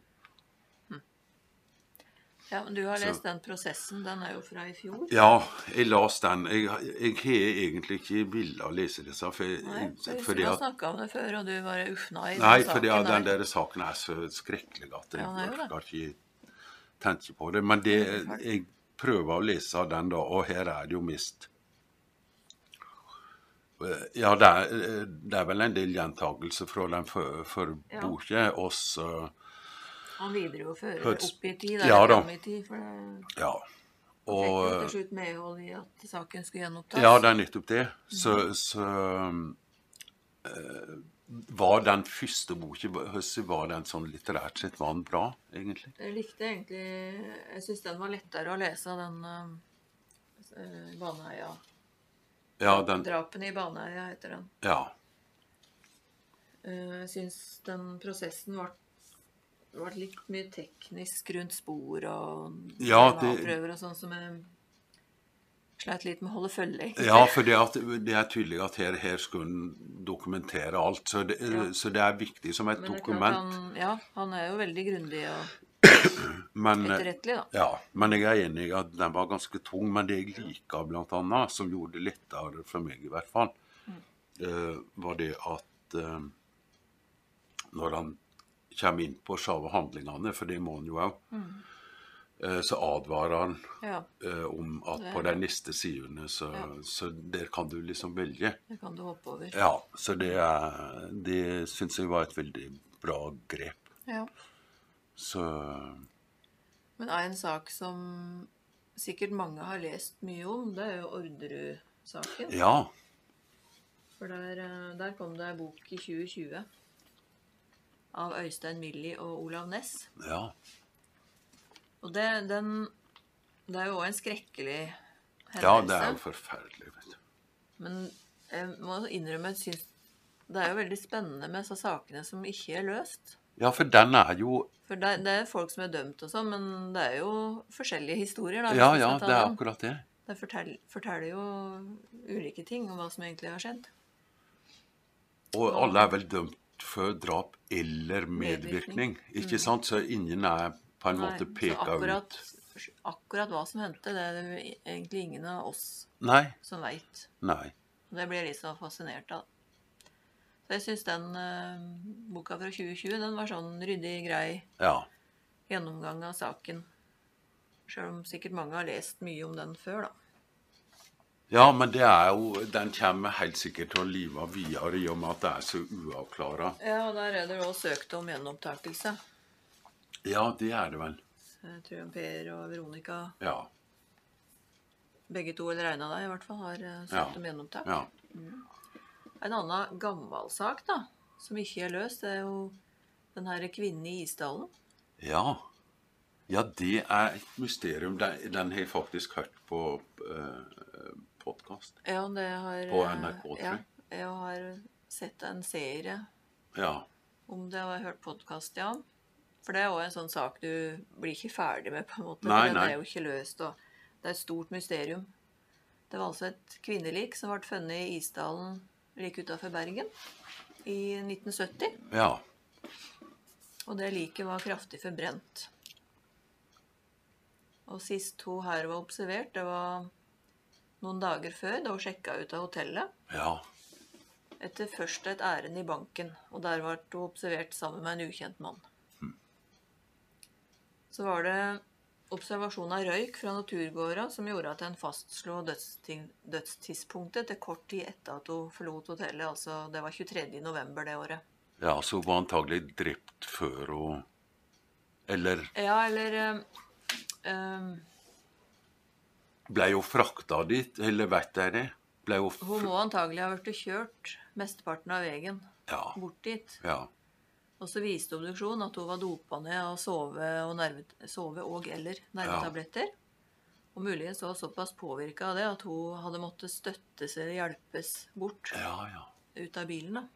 Ja, men du har Så- lest den prosessen. Den er jo fra i fjor. Ja, jeg las den. Jeg, jeg har egentlig ikke villet lese disse. For, Nei, for jeg- vi fordi har at, snakka om det før, og du bare uff, nei. den nei, saken fordi at den der. der saken er så skrekkelig at jeg Ja, den er jo det. orker ikke tenke på det. Men det, jeg prøver å lese den, da, og her er det jo mist. Eh, Ja, det er, det er vel en del gjentagelser fra den før- forrige Ja. boka. Og så Han viderefører det Høts- opp i tid. Eller Ja da. fram i tid, for det Ja. fikk Og jo til slutt medhold i at saken skulle gjenopptas. Ja, det er nettopp det. Så, så eh, var den første boka Høssi, var den sånn litterært sett var den bra, egentlig? Jeg likte egentlig Jeg syns den var lettere å lese, den eh, Baneheia. Ja, den, 'Drapene i Baneheia' heter den. ja, Eh, Jeg syns den prosessen var, var litt mye teknisk rundt spor og Ja, det- DNA-prøver og sånn som jeg sleit litt med å holde følge i. ja for det, at, det er tydelig at her, her skulle en dokumentere alt. Så det, Ja. så det er viktig som et Men det er klart dokument. Han, ja, han er jo veldig grundig og Men, etterrettelig, da. ja, men jeg er enig i at den var ganske tung. Men det jeg liker, blant annet, som gjorde det lettere for meg, i hvert fall, eh, var det at eh, når han kommer inn på sjave handlingene, for det må han jo òg, eh, så advarer han Ja, eh, om at på de neste sidene så, så der kan du liksom velge. det kan du hoppe over. Ja, så det, er- det syns jeg var et veldig bra grep. Ja. Så Men en sak som sikkert mange har lest mye om, det er jo Orderud-saken. ja. For der, eh, der kom det ei bok i 2020 av Øystein Millie og Olav Næss. Ja. Og det, den, det er jo òg en skrekkelig hendelse. ja, det er jo forferdelig, vet du. Men jeg må innrømme jeg syns det er jo veldig spennende med disse sakene som ikke er løst. Ja, for den er jo For det, det er folk som er dømt og sånn, men det er jo forskjellige historier. da. hvis Ja, vi ja, skal ta det er dem. akkurat det. Det forteller, forteller jo ulike ting om hva som egentlig har skjedd. Og alle er vel dømt for drap eller Medvirkning. medvirkning, ikke sant? Så ingen er på en Nei, måte så peka akkurat, ut. akkurat hva som hendte, det er det jo egentlig ingen av oss Nei. som veit. Nei. Det blir jeg litt så fascinert av. Så jeg syns den eh, boka fra 2020, den var sånn ryddig, grei Ja. gjennomgang av saken. Sjøl om sikkert mange har lest mye om den før, da. Ja, men det er jo, den kommer helt sikkert til å live videre i og med at det er så uavklara. Ja, og der er det òg søkt om gjenopptakelse. Ja, det er det vel. Jeg tror Per og Veronica, Ja. begge to eller en av deg i hvert fall, har eh, søkt Ja. om gjenopptak. ja. En annen gammel sak da, som ikke er løst, det er jo den her kvinnen i Isdalen. Ja, ja det er et mysterium. Den, den har jeg faktisk hørt på uh, podkast. Ja, det har, På NRK, tror ja, jeg. jeg har sett en serie Ja. om det, og jeg har hørt podkast, ja. For det er òg en sånn sak du blir ikke ferdig med, på en måte. Nei, for nei. Den er jo ikke løst, og det er et stort mysterium. Det var altså et kvinnelik som ble funnet i Isdalen like utafor Bergen i 1970. ja. Og det liket var kraftig forbrent. Og sist hun her var observert, det var noen dager før, da hun sjekka ut av hotellet. Ja. Etter først et ærend i banken, og der ble hun observert sammen med en ukjent mann. Så var det observasjon av røyk fra naturgårda som gjorde at en fastslo dødsting- dødstidspunktet til kort tid etter at hun forlot hotellet. Altså, det var 23. november det året. ja, så hun var antagelig drept før hun Eller Ja, eller eh, eh, ble hun frakta dit, eller vet dere det? Ble hun fr- Hun må antagelig ha vært kjørt mesteparten av veien Ja. bort dit. ja. Og så viste obduksjonen at hun var dopa ned av sove og, nerve, sove og eller nervetabletter. Og muligens var hun såpass påvirka av det at hun hadde måttet støttes eller hjelpes bort Ja, ja. ut av bilen. da.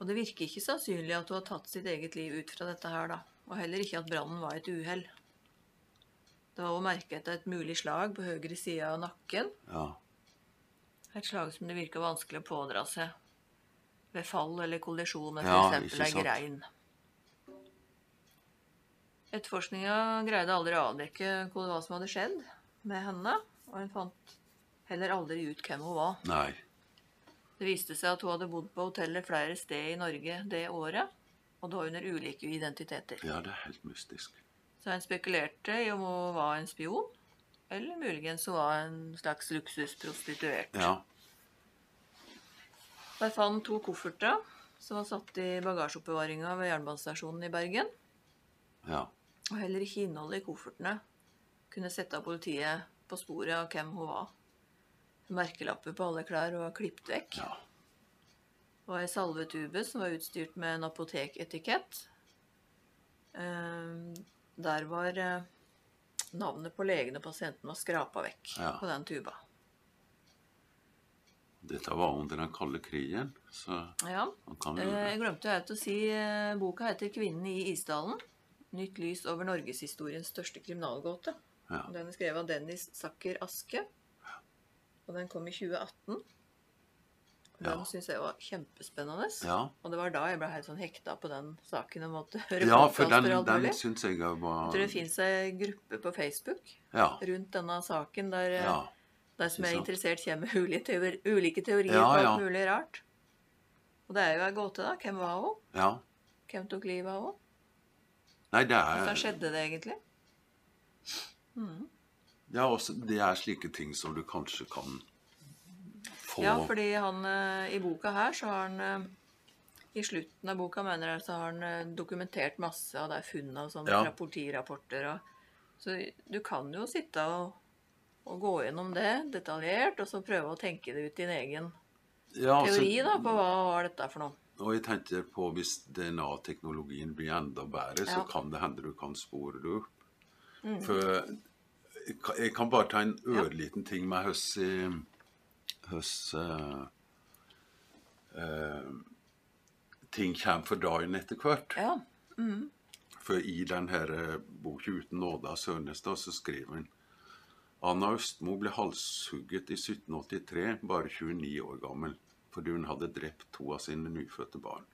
Og det virker ikke sannsynlig at hun har tatt sitt eget liv ut fra dette her, da. Og heller ikke at brannen var et uhell. Det var også merket etter et mulig slag på høyre side av nakken. ja. Et slag som det virker vanskelig å pådra seg ved fall eller kollisjon med Ja, f.eks. ikke ei sant. grein. Etterforskninga greide aldri å avdekke hva hva som hadde skjedd med henne, og en fant heller aldri ut hvem hun var. Nei. Det viste seg at hun hadde bodd på hoteller flere steder i Norge det året, og da under ulike identiteter. Ja, det er helt mystisk. Så en spekulerte i om hun var en spion, eller muligens hun var en slags luksusprostituert. Ja. Der fant to kofferter som var satt i bagasjeoppbevaringa ved jernbanestasjonen i Bergen. Ja. Og heller ikke innholdet i koffertene kunne sette av politiet på sporet av hvem hun var. Merkelapper på alle klær og klippet vekk. Ja. og ei salvetube som var utstyrt med en apoteketikett. Eh, Der var eh, navnet på legen og pasienten var skrapa vekk Ja. på den tuba. Dette var under den kalde krigen, så Ja. man kan jo Eh, Jeg glemte jo helt å si eh, boka heter 'Kvinnen i isdalen'. Nytt lys over norgeshistoriens største kriminalgåte. Ja. Og Den er skrevet av Dennis Zacker Aske. Og den kom i 2018. Og Den Ja. syns jeg var kjempespennende. Ja. Og det var da jeg ble helt sånn hekta på den saken og måtte [laughs] høre Ja, for podcaster den, og alt mulig. den syns jeg var Jeg tror det fins ei gruppe på Facebook Ja. rundt denne saken der eh, ja. de som er Ikke sant? interessert, kommer med ulike teori- ulike teorier Ja, på alt ja. mulig rart. Og det er jo ei gåte, da. Hvem var hun? ja. Hvem tok livet av henne? Nei, det Hvordan er, skjedde det egentlig? det, er også, det er slike ting som du kanskje kan få Ja, fordi han eh, i boka her, så har han eh, I slutten av boka, mener jeg, så har han eh, dokumentert masse av de funnene og sånn Ja. fra politirapporter og Så du kan jo sitte og, og gå gjennom det detaljert, og så prøve å tenke det ut din egen Ja, altså- teori da, på hva var dette for noe. Og jeg tenker på hvis DNA-teknologien blir enda bedre, så Ja. kan det hende du kan spore det opp. For jeg kan- jeg kan bare ta en ørliten ting med høss i høss eh, eh, Ting kommer for dagen etter hvert. Ja. For i den her eh, boka 'Uten nåde' av Sønnestad så skriver han Anna Østmo ble halshugget i 1783, bare 29 år gammel, fordi hun hadde drept to av sine nyfødte barn.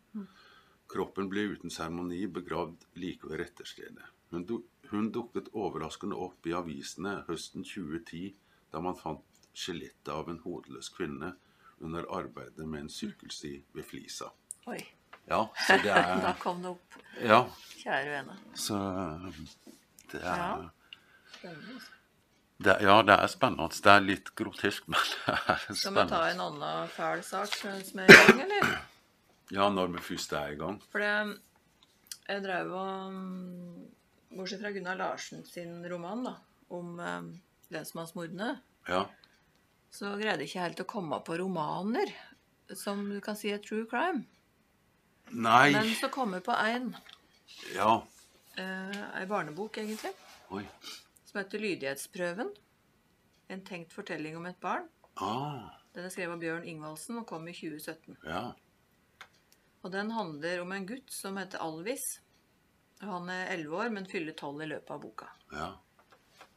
Kroppen ble uten seremoni begravd like ved retterstedet. Hun, du hun dukket overraskende opp i avisene høsten 2010, da man fant skjelettet av en hodeløs kvinne under arbeidet med en sykkelsti ved Flisa. Oi. Ja, så det Da [laughs] er kom det opp. Ja, Kjære vene. så um, det er Ja. Det, ja, det er spennende. Det er litt grotesk, [laughs] men det er Skal vi ta spennende. en annen fæl sak som er i gang, eller? Ja, når vi først er i gang. For det Jeg drev og mm, Bortsett fra Gunnar Larsen sin roman da, om eh, lensmannsmordene, Ja, så greide jeg ikke helt å komme på romaner som du kan si er true crime. Nei Men så kom jeg på en, Ja. eh, ei barnebok, egentlig, Oi. som heter 'Lydighetsprøven'. En tenkt fortelling om et barn. Ah, Den er skrevet av Bjørn Ingvaldsen og kom i 2017. ja. Og den handler om en gutt som heter Alvis. Og Han er 11 år, men fyller 12 i løpet av boka. Ja.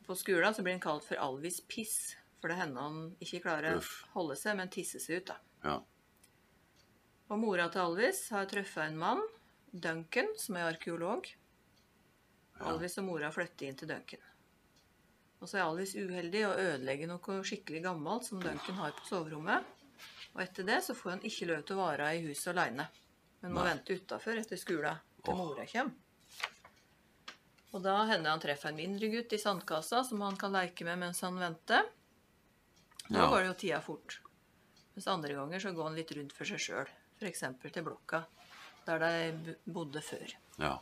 På skolen så blir han kalt for Alvis Piss, for det hender han ikke klarer Uff. å holde seg, men tisser seg ut. da. Ja. Og mora til Alvis har truffet en mann, Duncan, som er arkeolog. Alvis og mora flytter inn til Duncan. Og så er Alvis uheldig og ødelegger noe skikkelig gammelt som Duncan har på soverommet. Og etter det så får han ikke lov til å være i huset aleine, men må Nei. vente utafor etter skolen til Åh. mora kommer. Og da hender han treffer en mindre gutt i sandkassa som han kan leke med mens han venter. Da Ja. går det jo tida fort. Mens andre ganger så går han litt rundt for seg sjøl. F.eks. til blokka der de b- bodde før. Ja.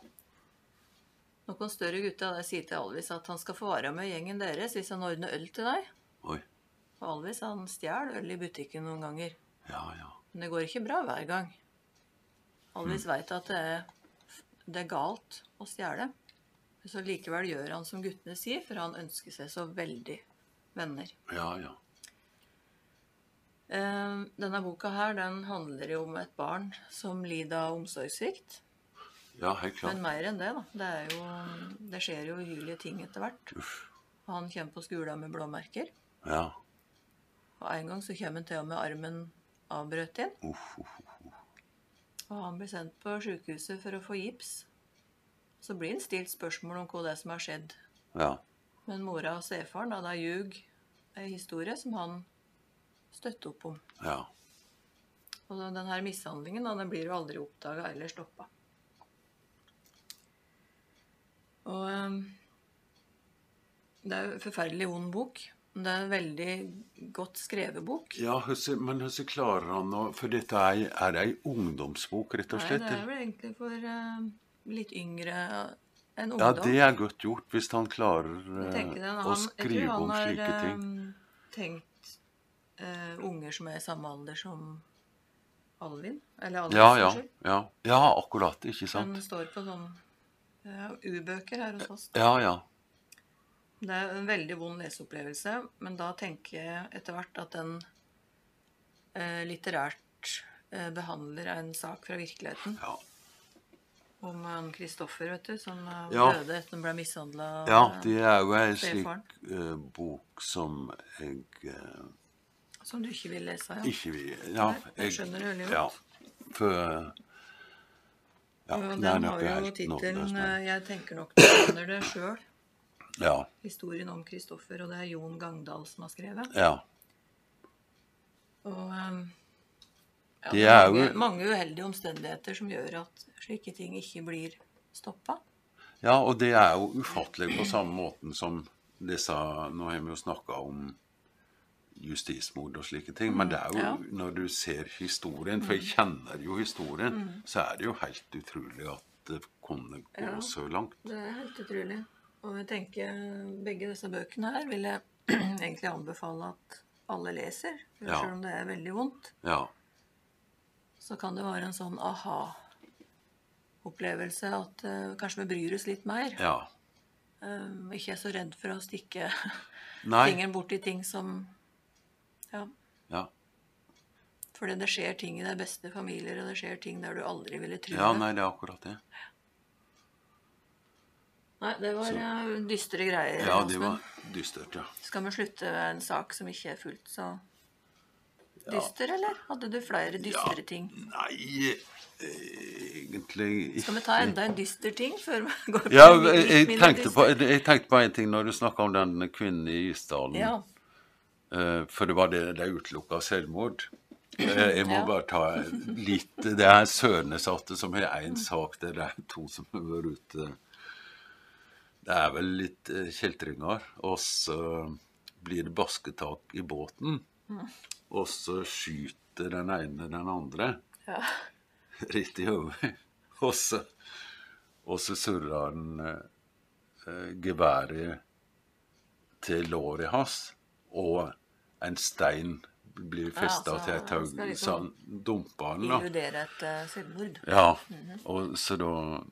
Noen større gutter de sier til Alvis at han skal få være med gjengen deres hvis han ordner øl til deg. Oi. Og Alvis han stjeler øl i butikken noen ganger. Ja, ja. Men det går ikke bra hver gang. Alvis vet veit at det er, det er galt å stjele. Men Så likevel gjør han som guttene sier, for han ønsker seg så veldig venner. Ja, ja. Eh, Denne boka her, den handler jo om et barn som lider av omsorgssvikt. Ja, helt Men klart. mer enn det, da. Det, er jo, det skjer jo uhyrlige ting etter hvert. Uff. Han kommer på skolen med blåmerker. Ja. Og en gang så kommer han til og med armen avbrøt inn. Uff, uff. Og han blir sendt på sykehuset for å få gips. Så blir han stilt spørsmål om hva det er som har skjedd. Ja. Men mora og stefaren, da, da ljug ei historie som han støtter opp om. Ja. Og den den her mishandlingen da, den blir jo aldri oppdaga eller stoppa. Og ehm, Det er jo en forferdelig ond bok. Men det er en veldig godt skrevet bok. ja høsse, men hvordan klarer han å For dette er, er ei ungdomsbok, rett og Nei, slett? det er vel egentlig for ehm, litt yngre enn ja, ungdom. det er godt gjort hvis han klarer Jeg tenker eh, den- å han- jeg tror skrive han om har, eh, slike ting. ehm, tenkt eh, unger som er i samme alder som Alvin? Eller Alvin, Ja, ja, ja. Ja, akkurat. Ikke Den sant? står på sånn ja, U-bøker her hos oss. Ja, ja. Det er en veldig vond leseopplevelse, men da tenker jeg etter hvert at den eh, litterært eh, behandler en sak fra virkeligheten Ja, om han Kristoffer, vet du, som eh, Ja. døde etter han ble eh, mishandla. ja det er jo ei Stefaren. slik eh, bok som jeg eh, Som du ikke vil lese, ja. ikke vil Ja, Nei, jeg skjønner det veldig godt. Ja, for eh, ja, Og nei, den nå har er jo helt nådeløs, tittelen men- eh, 'Jeg tenker nok du skjønner det sjøl'. Ja. Historien om Kristoffer, og det er Jon Gangdal som har skrevet. ja. Og eh, ja, Det det er er jo- mange, mange uheldige omstendigheter som gjør at slike ting ikke blir stoppa. Ja, og det er jo ufattelig på samme måten som disse Nå har vi jo snakka om justismord og slike ting, men det er jo ja. når du ser historien, for jeg kjenner jo historien, så er det jo helt utrolig at det kunne gå Mm. Ja. så langt. Det er helt utrolig. Og jeg tenker begge disse bøkene her vil jeg [clears throat] egentlig anbefale at alle leser. For Ja. Selv om det er veldig vondt, Ja. så kan det være en sånn aha-opplevelse. At eh, kanskje vi bryr oss litt mer. ja. Eh, ikke er så redd for å stikke [laughs] Nei. fingeren borti ting som Ja. Ja. Fordi det skjer ting i de beste familier, og det skjer ting der du aldri ville tro ja, det. nei, det er akkurat det. Nei, det var eh, dystre greier. Ja, det Åsmund. var dystert, ja. Skal vi slutte en sak som ikke er fullt så dyster, eller? Hadde du flere dystre ting? Nei, egentlig ikke. Skal vi ta enda en dyster ting før vi [laughs] går på Ja, en litt jeg, jeg, mindre tenkte på, dyster? jeg tenkte på en ting når du snakka om den kvinnen i Isdalen. Ja. Eh, For det var det de utelukka selvmord. Eh, Jeg må Ja. bare ta litt Det er Sørenesatte som har én sak der det er to som har vært ute. Det er vel litt eh, kjeltringer. Og så blir det basketak i båten. Og så skyter den ene den andre ja. [laughs] rett i hodet. Og så, og så surra han eh, eh, geværet til låret hans, og en stein blir festa så til et han skal tau. liksom Så han dumpa han, da. Illudere et eh, selvmord. Ja, Mhm. og så da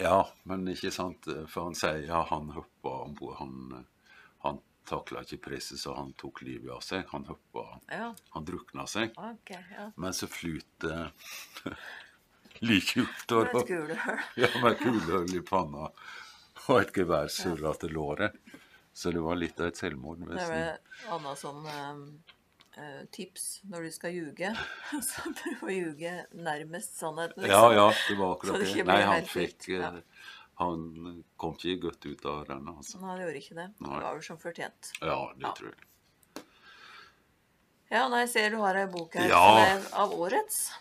Ja, men ikke sant, for han sier ja, han hoppa om bord. Han, eh, han takla ikke presset, så han tok livet av seg. Han hoppa. Ja, Han drukna seg. ok. ja. Men så eh, flyter [laughs] like opp Det er døra. et [laughs] kulehull. Ja, med kulehull i panna og et gevær surra til låret. Så det var litt av et selvmord. Det er nesten. vel annet sånn eh, eh, tips når du skal ljuge. [laughs] Så prøv å ljuge nærmest sannheten. Ja, ja, det var liksom Så akkurat det det. ikke Nei, blir han helt fikk likt, ja. eh, Han kom ikke godt ut av den, altså. Nei, det gjorde ikke det. Nei. Det var vel som fortjent. Ja, det Ja. tror jeg. Ja, nei, jeg ser du har ei bok her Ja. som er av årets.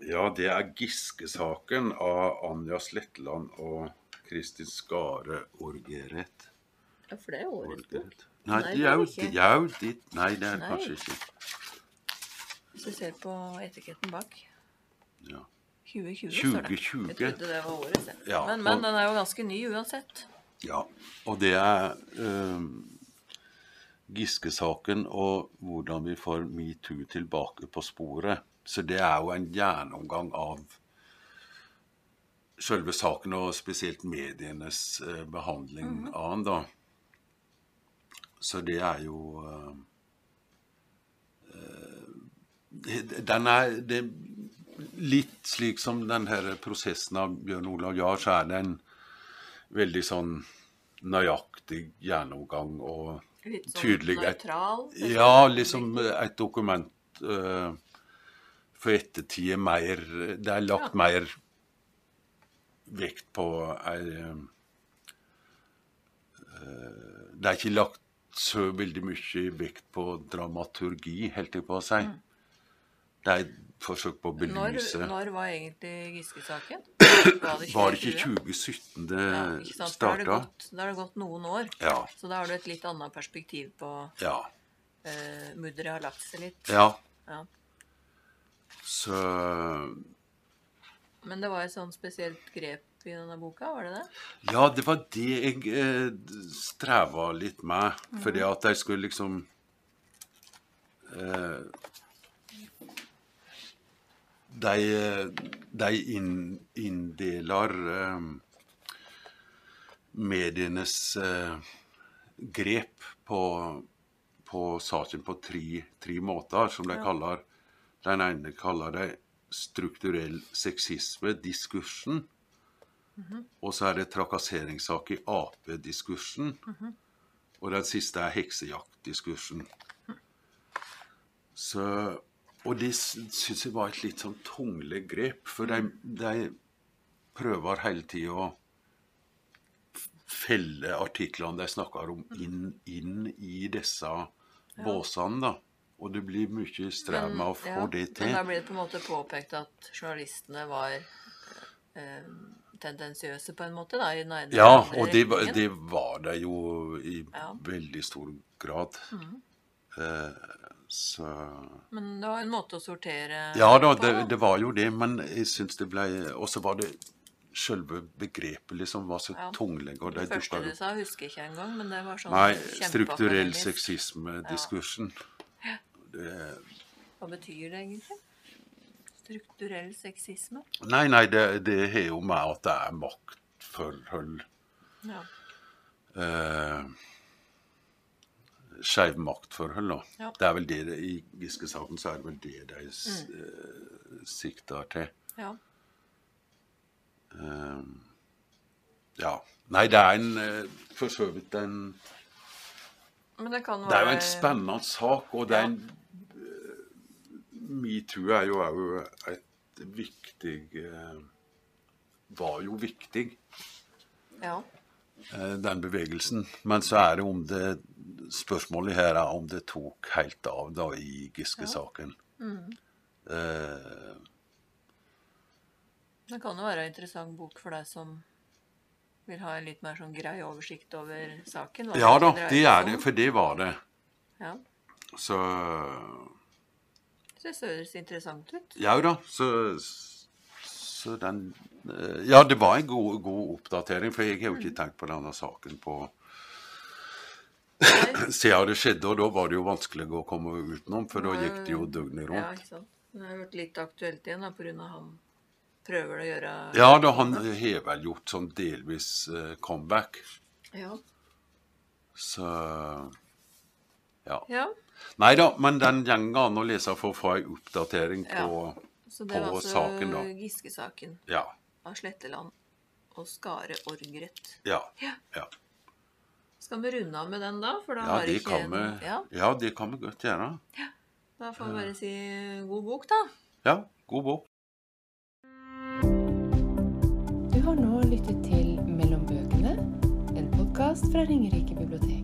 Ja, det er Giske-saken av Anja Sletteland og Kristin Skare Orgeret. Ja, for det er årets bok. Orgeret. Nei, Nei, de det er er jo det ikke. de er jo ditt Nei, det er det Nei. kanskje ikke. Hvis du ser på etiketten bak. Ja. 2020 står det. 2020. Jeg trodde det var årets. jeg. Ja, men, men og- den er jo ganske ny uansett. Ja, og det er ehm, Giske-saken og hvordan vi får metoo tilbake på sporet. Så det er jo en gjennomgang av selve saken, og spesielt medienes eh, behandling Mhm. av den, da. Så det er jo eh, eh, Den er det, Litt slik som den her prosessen av Bjørn Olav Jahr, så er det en veldig sånn nøyaktig gjennomgang og Litt sånn tydelig et- nøytral. Ja, liksom et dokument eh, for ettertid er mer Det er lagt mer vekt på ei eh, Det er ikke lagt så veldig mye vekt på dramaturgi, holdt jeg på å si. Det er et forsøk på å Mm. Når, belyse når var egentlig [coughs] Giske-saken? Var det ikke 2017 det Ja, ikke sant? Da har det, starta? gått, da har det gått noen år. Ja. Så da har du et litt annet perspektiv på Ja. eh, Mudderet har lagt seg litt. ja. Ja. Så Men det var et sånn spesielt grep i denne boka, var det det? Ja, det var det jeg eh, streva litt med. Fordi at jeg skulle liksom eh, de, de inn, inndeler eh, medienes eh, grep på, på saken på tre, tre måter, som de kaller Den ene kaller de strukturell sexisme, diskursen. Og så er det trakasseringssak i Ap-diskursen. Mhm. Og den siste er heksejaktdiskursen. Så, og det syns jeg var et litt sånn tungle grep, for de, de prøver hele tida å f- felle artiklene de snakker om, Mhm. inn, inn i disse båsene. da. Og det blir mye strev med å få Ja, det til. Men da blir det på en måte påpekt at journalistene var eh, tendensiøse på en måte, da, i den ene Ja, eller og det, var- retningen. det var det jo i Ja. veldig stor grad. Eh, så Men det var en måte å sortere Ja da, på, det, det var jo det, men jeg syns det ble Og så var det Selve begrepet liksom var så Ja. tunglegg, og de Det første dukka du jo sa, husker jeg ikke engang, men det var sånn Nei, kjempeakademisk. strukturell sexisme-diskursen. Det- Hva betyr det egentlig? Strukturell sexisme? Nei, nei, det, det har jo med at det er maktforhold Ja. eh, skeive maktforhold. Da. Ja. Det er vel det det- I Giske-saken så er det vel det de s- eh, sikter til. ja. Ehm, ja. Nei, det er en eh, for så vidt en Men det kan være Det er jo en spennende sak, og det er Ja. en eh, Metoo er jo òg et viktig eh, Var jo viktig. Ja. eh, den bevegelsen. Men så er det om det Spørsmålet her er om det tok helt av da i Giske-saken. Mm. Eh, Det kan jo være en interessant bok for deg som vil ha en litt mer sånn grei oversikt over saken. hva ja da, dreier det seg er det, om. for det var det. Ja. Så Det høres interessant ut. Ja da, så, så den eh, Ja, det var en god, god oppdatering, for jeg har Mm. jo ikke tenkt på denne saken på siden det skjedde, og da var det jo vanskelig å komme utenom, for da gikk det jo døgnet Ja, rundt. ikke sant. Men det har vært litt aktuelt igjen da, på grunn av han prøver å gjøre Ja da, han har vel gjort sånn delvis eh, comeback. Ja. Så ja. Ja, Nei da, men den gjenger an å lese for å få ei oppdatering på Så det var På altså saken, da. Giske-saken Ja. av Sletteland og Skare Orgret. Ja. Ja. ja. Skal vi runde av med den da? For da ja har det ikke kan vi en- Ja, ja, det kan vi godt gjøre. da får vi bare si god bok, da. Ja, god bok. Du har nå lyttet til Mellom bøkene, en podkast fra Ringerike bibliotek.